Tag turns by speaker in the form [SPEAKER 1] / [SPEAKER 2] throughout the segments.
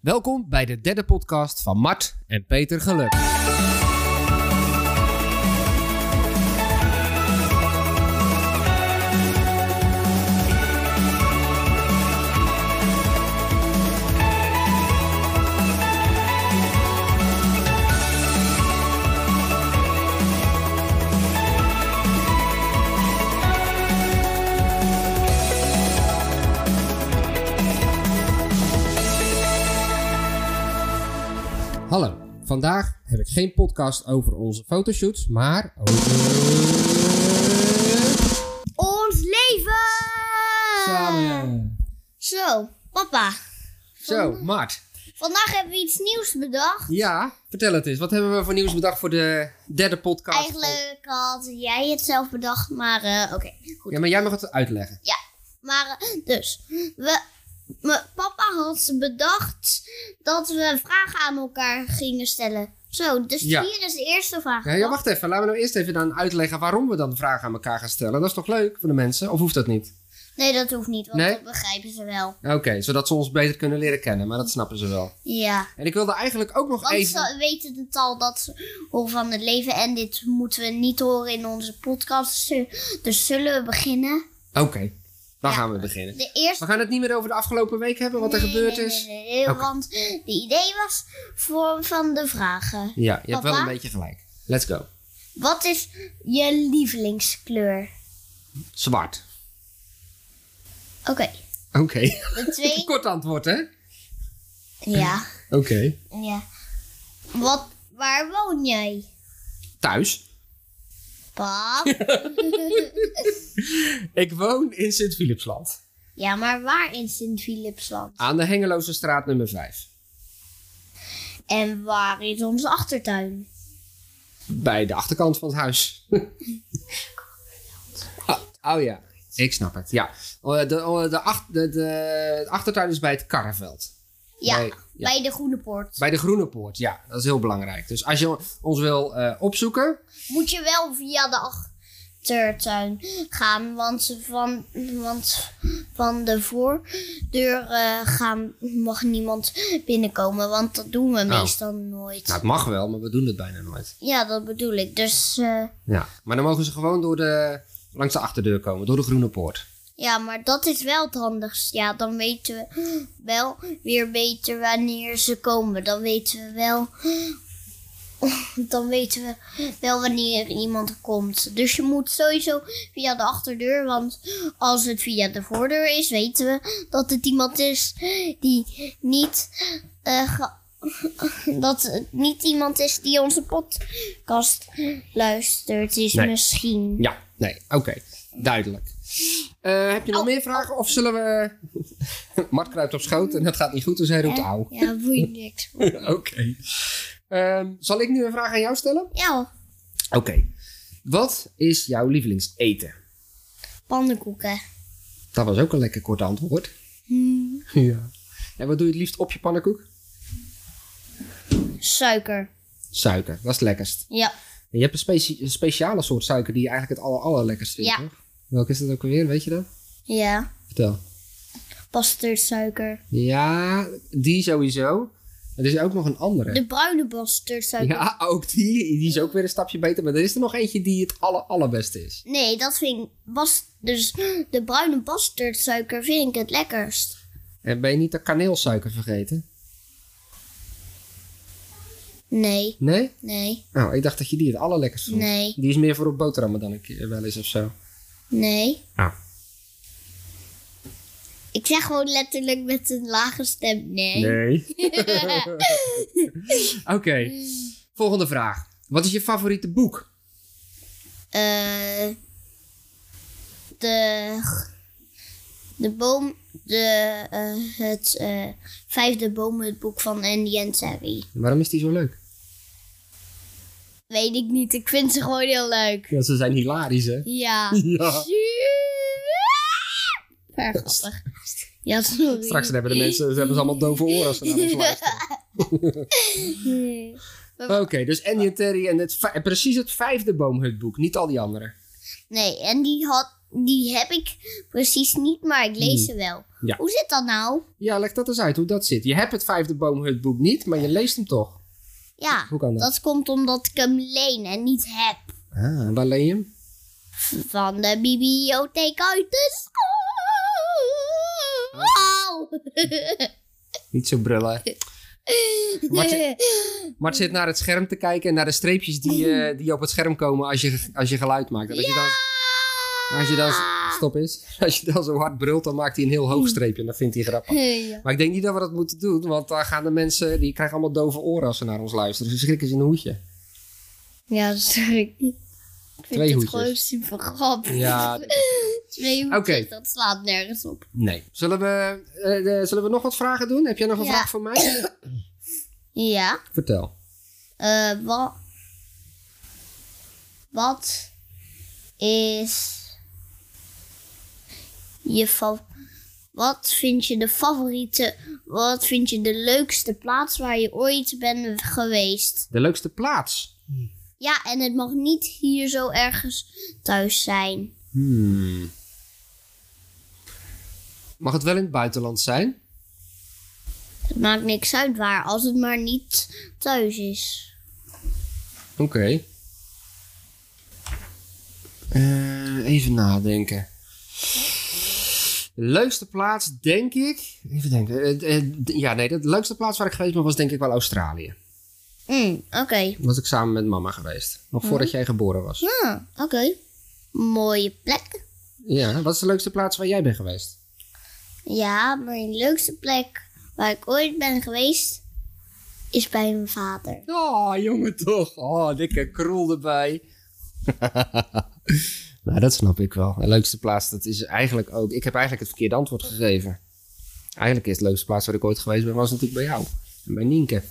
[SPEAKER 1] Welkom bij de derde podcast van Mart en Peter Geluk. Hallo, vandaag heb ik geen podcast over onze fotoshoots, maar over...
[SPEAKER 2] Ons leven!
[SPEAKER 1] Samen.
[SPEAKER 2] Zo, papa.
[SPEAKER 1] Zo, Mart.
[SPEAKER 2] Vandaag hebben we iets nieuws bedacht.
[SPEAKER 1] Ja, vertel het eens. Wat hebben we voor nieuws bedacht voor de derde podcast?
[SPEAKER 2] Eigenlijk had jij het zelf bedacht, maar eh, oké.
[SPEAKER 1] Ja, maar jij mag het uitleggen.
[SPEAKER 2] Maar eh, dus, we, me- papa had bedacht dat we vragen aan elkaar gingen stellen. Zo, dus
[SPEAKER 1] Ja.
[SPEAKER 2] hier is de eerste vraag.
[SPEAKER 1] Ja, ja, wacht even. Laten we nou eerst even dan uitleggen waarom we dan vragen aan elkaar gaan stellen. Dat is toch leuk voor de mensen? Of hoeft dat niet?
[SPEAKER 2] Nee, dat hoeft niet, want
[SPEAKER 1] Nee?
[SPEAKER 2] dat begrijpen ze wel.
[SPEAKER 1] Oké, zodat ze ons beter kunnen leren kennen. Maar dat snappen ze wel.
[SPEAKER 2] Ja.
[SPEAKER 1] En ik wilde eigenlijk ook nog
[SPEAKER 2] Want
[SPEAKER 1] even...
[SPEAKER 2] ze weten het al dat ze horen van het leven en dit moeten we niet horen in onze podcast. Dus zullen we beginnen?
[SPEAKER 1] Oké, dan
[SPEAKER 2] Ja.
[SPEAKER 1] gaan we beginnen.
[SPEAKER 2] De eerste
[SPEAKER 1] We gaan het niet meer over de afgelopen week hebben, wat er
[SPEAKER 2] Nee,
[SPEAKER 1] gebeurd
[SPEAKER 2] nee,
[SPEAKER 1] is.
[SPEAKER 2] nee, nee,
[SPEAKER 1] Oké.
[SPEAKER 2] Want de idee was voor van de vragen.
[SPEAKER 1] Ja, je hebt wel
[SPEAKER 2] Papa?
[SPEAKER 1] een beetje gelijk. Let's go.
[SPEAKER 2] Wat is je lievelingskleur?
[SPEAKER 1] Zwart.
[SPEAKER 2] Oké,
[SPEAKER 1] Oké.
[SPEAKER 2] de twee.
[SPEAKER 1] Kort antwoord, hè?
[SPEAKER 2] ja,
[SPEAKER 1] Oké.
[SPEAKER 2] ja. Wat, waar woon jij?
[SPEAKER 1] Thuis.
[SPEAKER 2] Pap.
[SPEAKER 1] Ik woon in Sint-Philipsland.
[SPEAKER 2] ja, maar waar in Sint-Philipsland?
[SPEAKER 1] Aan de Hengeloze straat nummer 5.
[SPEAKER 2] En waar is onze achtertuin?
[SPEAKER 1] Bij de achterkant van het huis. Ah, oh, ja, ik snap het. Ja. Eh, De, eh, de, ach- de, de- de achtertuin is bij het Karreveld.
[SPEAKER 2] Ja,
[SPEAKER 1] Bij- ja.
[SPEAKER 2] bij de Groene Poort.
[SPEAKER 1] Bij de Groene Poort, ja. Dat is heel belangrijk. Dus als je ons wil eh, opzoeken,
[SPEAKER 2] Moet je wel via de achtertuin gaan, want ze van, want van de voordeur eh, gaan mag niemand binnenkomen, want dat doen we meestal nooit.
[SPEAKER 1] nou het mag wel, maar we doen het bijna nooit.
[SPEAKER 2] Ja, dat bedoel ik. Dus eh,
[SPEAKER 1] Ja. Maar dan mogen ze gewoon door de, langs de achterdeur komen, door de Groene Poort.
[SPEAKER 2] ja, maar dat is wel het handigst. Ja, dan weten we wel weer beter wanneer ze komen. Dan weten we wel. Dan weten we wel wanneer iemand komt. Dus je moet sowieso via de achterdeur. Want als het via de voordeur is, weten we dat het iemand is die niet. eh, ge- dat het niet iemand is die onze podcast luistert. Is
[SPEAKER 1] Nee.
[SPEAKER 2] misschien.
[SPEAKER 1] Ja, nee, oké. Duidelijk. Eh, heb je nog meer vragen? Of zullen we... Mart kruipt op schoot en dat gaat niet goed, dus hij roept
[SPEAKER 2] Hè?
[SPEAKER 1] auw.
[SPEAKER 2] Ja, boeit niks.
[SPEAKER 1] Oké. Ehm, zal ik nu een vraag aan jou stellen?
[SPEAKER 2] Ja,
[SPEAKER 1] Oké. Wat is jouw lievelingseten?
[SPEAKER 2] pannenkoeken.
[SPEAKER 1] Dat was ook een lekker kort antwoord.
[SPEAKER 2] Hmm,
[SPEAKER 1] Ja. En wat doe je het liefst op je pannenkoek?
[SPEAKER 2] Suiker.
[SPEAKER 1] Suiker, dat is het lekkerst.
[SPEAKER 2] Ja,
[SPEAKER 1] En je hebt een, specie- een speciale soort suiker die je eigenlijk het aller, allerlekkerst vindt,
[SPEAKER 2] Ja.
[SPEAKER 1] toch? Welke is dat ook alweer, weet je dat?
[SPEAKER 2] ja.
[SPEAKER 1] Vertel.
[SPEAKER 2] Bastardsuiker.
[SPEAKER 1] Ja, die sowieso. Er is ook nog een andere.
[SPEAKER 2] De bruine bastardsuiker.
[SPEAKER 1] Ja, ook die. Die is ook weer een stapje beter. Maar er is er nog eentje die het aller, allerbeste is.
[SPEAKER 2] Nee, dat vind ik... Bas, dus de bruine bastardsuiker vind ik het lekkerst.
[SPEAKER 1] En ben je niet de kaneelsuiker vergeten?
[SPEAKER 2] Nee,
[SPEAKER 1] Nee?
[SPEAKER 2] nee,
[SPEAKER 1] Nou, ik dacht dat je die het allerlekkerste vond.
[SPEAKER 2] nee,
[SPEAKER 1] Die is meer voor op boterhammen dan ik eh, wel eens of zo.
[SPEAKER 2] nee.
[SPEAKER 1] Ah.
[SPEAKER 2] Ik zeg gewoon letterlijk met een lage stem nee.
[SPEAKER 1] Nee. Oké. Volgende vraag. Wat is je favoriete boek?
[SPEAKER 2] Eh, de, de boom, de, eh, het eh, vijfde boom, het boek van Andy en Terry.
[SPEAKER 1] Waarom is die zo leuk?
[SPEAKER 2] Weet ik niet, ik vind ze gewoon heel leuk.
[SPEAKER 1] Ja, ze zijn hilarisch, hè?
[SPEAKER 2] Ja.
[SPEAKER 1] Ja.
[SPEAKER 2] Super grappig. Ja, sorry.
[SPEAKER 1] Straks hebben de mensen ze hebben ze allemaal dove oren als ze naar ons luisteren.
[SPEAKER 2] Nee.
[SPEAKER 1] Oké, dus Andy en Terry en het, vij- precies het vijfde boomhutboek. Niet al die anderen.
[SPEAKER 2] Nee, en die had die heb ik precies niet, maar ik lees ze wel.
[SPEAKER 1] Hmm. Ja.
[SPEAKER 2] Hoe zit dat nou?
[SPEAKER 1] Ja, leg dat eens uit hoe dat zit. Je hebt het vijfde boomhutboek niet, maar je leest hem toch. Ah,
[SPEAKER 2] Ja,
[SPEAKER 1] Hoe kan dat?
[SPEAKER 2] dat komt omdat ik hem leen en niet heb.
[SPEAKER 1] Ah, en waar leen je hem?
[SPEAKER 2] Van de bibliotheek uit de school.
[SPEAKER 1] Niet zo brullen. Maar het, maar het zit naar het scherm te kijken en naar de streepjes die, eh, die op het scherm komen als je, als je geluid maakt. En Als je dan, als je dan, stop eens. Als je dan zo hard brult, dan maakt hij een heel hoog streepje en dat vindt hij grappig.
[SPEAKER 2] Ja.
[SPEAKER 1] Maar ik denk niet dat we dat moeten doen, want daar gaan de mensen, die krijgen allemaal dove oren als ze naar ons luisteren. Ze schrikken ze in een hoedje.
[SPEAKER 2] Ja, dat is Ik vind
[SPEAKER 1] Twee
[SPEAKER 2] het
[SPEAKER 1] hoedjes.
[SPEAKER 2] gewoon super grappig.
[SPEAKER 1] Ja,
[SPEAKER 2] Twee hoedjes,
[SPEAKER 1] Oké.
[SPEAKER 2] dat slaat nergens op.
[SPEAKER 1] nee. Zullen we, eh, eh, zullen we nog wat vragen doen? Heb jij nog een
[SPEAKER 2] Ja.
[SPEAKER 1] vraag voor mij?
[SPEAKER 2] Ja,
[SPEAKER 1] Vertel.
[SPEAKER 2] eh, wat... Wat is je fa- Wat vind je de favoriete... Wat vind je de leukste plaats waar je ooit bent geweest?
[SPEAKER 1] De leukste plaats.
[SPEAKER 2] Ja, en het mag niet hier zo ergens thuis zijn.
[SPEAKER 1] Hmm. Mag het wel in het buitenland zijn?
[SPEAKER 2] Het maakt niks uit waar, als het maar niet thuis is.
[SPEAKER 1] Oké. Eh, even nadenken. De leukste plaats, denk ik. Even denken. Eh, eh, d- ja, nee, de leukste plaats waar ik geweest ben was denk ik wel Australië.
[SPEAKER 2] Mm, oké.
[SPEAKER 1] Was ik samen met mama geweest. Nog voordat jij geboren was.
[SPEAKER 2] Ah, oké. Mooie plek.
[SPEAKER 1] Ja, wat is de leukste plaats waar jij bent geweest?
[SPEAKER 2] Ja, mijn leukste plek waar ik ooit ben geweest is bij mijn vader.
[SPEAKER 1] Oh, jongen toch. Oh, dikke krul erbij. nou, dat snap ik wel. De leukste plaats, dat is eigenlijk ook... Ik heb eigenlijk het verkeerde antwoord gegeven. Eigenlijk is de leukste plaats waar ik ooit geweest ben, was natuurlijk bij jou. En bij Nienke.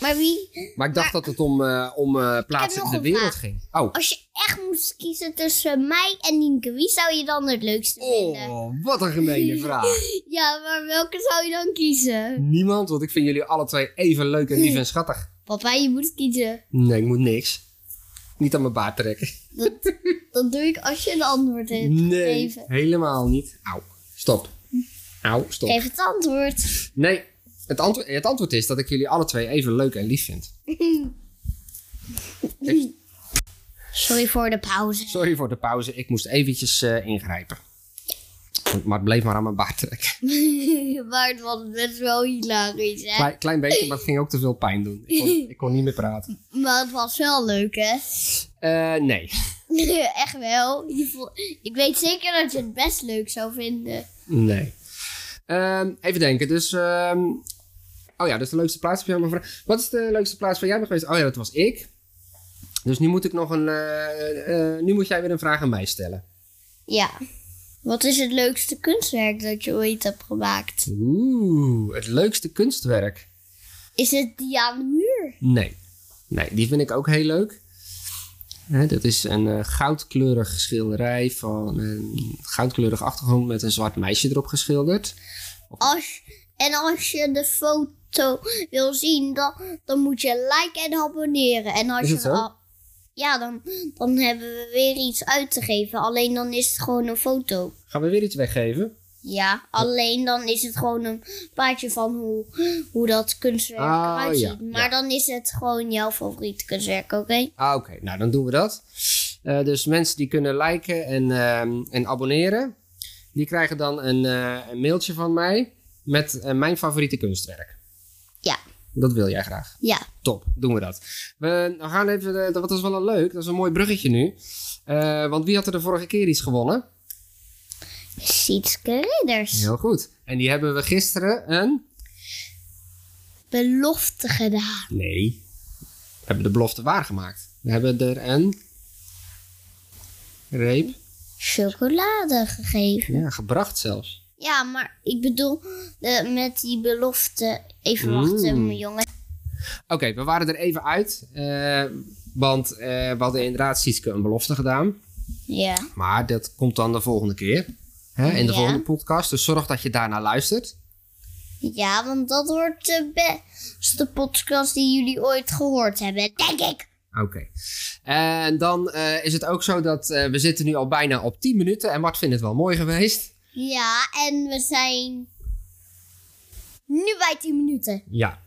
[SPEAKER 2] Maar wie,
[SPEAKER 1] Maar ik dacht dat het om, eh, om eh, plaatsen in
[SPEAKER 2] nog
[SPEAKER 1] de
[SPEAKER 2] een
[SPEAKER 1] wereld
[SPEAKER 2] vraag.
[SPEAKER 1] ging. Oh.
[SPEAKER 2] als je echt moest kiezen tussen mij en Nienke, wie zou je dan het leukste vinden?
[SPEAKER 1] oh, wat een gemene vraag.
[SPEAKER 2] Ja, maar welke zou je dan kiezen?
[SPEAKER 1] Niemand, want ik vind jullie alle twee even leuk en lief en schattig.
[SPEAKER 2] Papa, je moet kiezen.
[SPEAKER 1] Nee, ik moet niks. Niet aan mijn baard trekken.
[SPEAKER 2] Dat, dat doe ik als je een antwoord hebt
[SPEAKER 1] Nee,
[SPEAKER 2] gegeven.
[SPEAKER 1] helemaal niet. Auw, stop. Auw, stop.
[SPEAKER 2] Geef het antwoord.
[SPEAKER 1] Nee, het, antwo- het antwoord is dat ik jullie alle twee even leuk en lief vind.
[SPEAKER 2] Sorry voor de pauze.
[SPEAKER 1] Sorry voor de pauze, ik moest eventjes eh, ingrijpen. Maar het bleef maar aan mijn baard trekken.
[SPEAKER 2] maar het was best wel hilarisch, hè?
[SPEAKER 1] Klein, klein beetje, maar het ging ook te veel pijn doen. Ik kon, ik kon niet meer praten.
[SPEAKER 2] Maar het was wel leuk, hè?
[SPEAKER 1] Eh, nee.
[SPEAKER 2] Echt wel. Je vo- ik weet zeker dat je het best leuk zou vinden.
[SPEAKER 1] Nee. Ehm, even denken, dus... ehm, oh ja, dat is de leukste plaats. Heb je allemaal vragen? Wat is de leukste plaats waar jij bent geweest? Oh ja, dat was ik. Dus nu moet ik nog een... eh, eh, nu moet jij weer een vraag aan mij stellen.
[SPEAKER 2] Ja. Wat is het leukste kunstwerk dat je ooit hebt gemaakt?
[SPEAKER 1] Oeh, het leukste kunstwerk.
[SPEAKER 2] Is het die aan de muur?
[SPEAKER 1] Nee. Nee, die vind ik ook heel leuk. Hè, dat is een eh, goudkleurig schilderij van een goudkleurig achtergrond met een zwart meisje erop geschilderd.
[SPEAKER 2] Als, en als je de foto wil zien, dan, dan moet je liken en abonneren. En als
[SPEAKER 1] Is
[SPEAKER 2] je
[SPEAKER 1] het zo?
[SPEAKER 2] al- ja, dan, dan hebben we weer iets uit te geven. Alleen dan is het gewoon een foto.
[SPEAKER 1] Gaan we weer iets weggeven?
[SPEAKER 2] Ja, alleen dan is het gewoon een plaatje van hoe, hoe dat kunstwerk
[SPEAKER 1] Ah,
[SPEAKER 2] eruit ziet.
[SPEAKER 1] ja,
[SPEAKER 2] maar
[SPEAKER 1] ja.
[SPEAKER 2] dan is het gewoon jouw favoriete kunstwerk, oké?
[SPEAKER 1] Ah, oké. Nou, dan doen we dat. Eh, dus mensen die kunnen liken en, ehm, en abonneren, die krijgen dan een, eh, een mailtje van mij met eh, mijn favoriete kunstwerk.
[SPEAKER 2] Ja,
[SPEAKER 1] Dat wil jij graag.
[SPEAKER 2] ja.
[SPEAKER 1] Top, doen we dat. We we gaan even, eh, dat was wel een leuk, dat is een mooi bruggetje nu. Eh, want wie had er de vorige keer iets gewonnen?
[SPEAKER 2] Sietske Ridders.
[SPEAKER 1] Heel goed. En die hebben we gisteren een...
[SPEAKER 2] Belofte gedaan.
[SPEAKER 1] Nee. We hebben de belofte waargemaakt. We hebben er een... Reep.
[SPEAKER 2] Chocolade gegeven.
[SPEAKER 1] Ja, gebracht zelfs.
[SPEAKER 2] Ja, maar ik bedoel eh, met die belofte. Even wachten, mijn jongen.
[SPEAKER 1] Oké, we waren er even uit. eh, want eh, we hadden inderdaad Sietske een belofte gedaan.
[SPEAKER 2] Ja.
[SPEAKER 1] Maar dat komt dan de volgende keer. Hè, in de
[SPEAKER 2] Ja.
[SPEAKER 1] volgende podcast. Dus zorg dat je daarna luistert.
[SPEAKER 2] Ja, want dat wordt de beste podcast die jullie ooit gehoord hebben, denk ik.
[SPEAKER 1] Oké. En dan eh, is het ook zo dat eh, we zitten nu al bijna op 10 minuten. En Mart vindt het wel mooi geweest.
[SPEAKER 2] Ja, en we zijn nu bij 10 minuten.
[SPEAKER 1] Ja.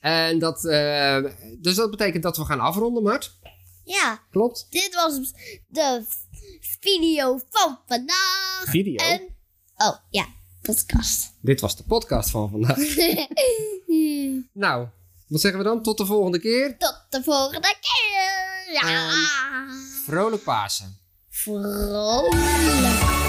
[SPEAKER 1] En dat, eh, dus dat betekent dat we gaan afronden, Mart.
[SPEAKER 2] Ja,
[SPEAKER 1] Klopt.
[SPEAKER 2] dit was de video van vandaag.
[SPEAKER 1] Video?
[SPEAKER 2] En, oh ja, podcast.
[SPEAKER 1] Dit was de podcast van vandaag. nou, wat zeggen we dan? Tot de volgende keer.
[SPEAKER 2] Tot de volgende keer. Ja.
[SPEAKER 1] Vrolijk Pasen.
[SPEAKER 2] Vrolijk.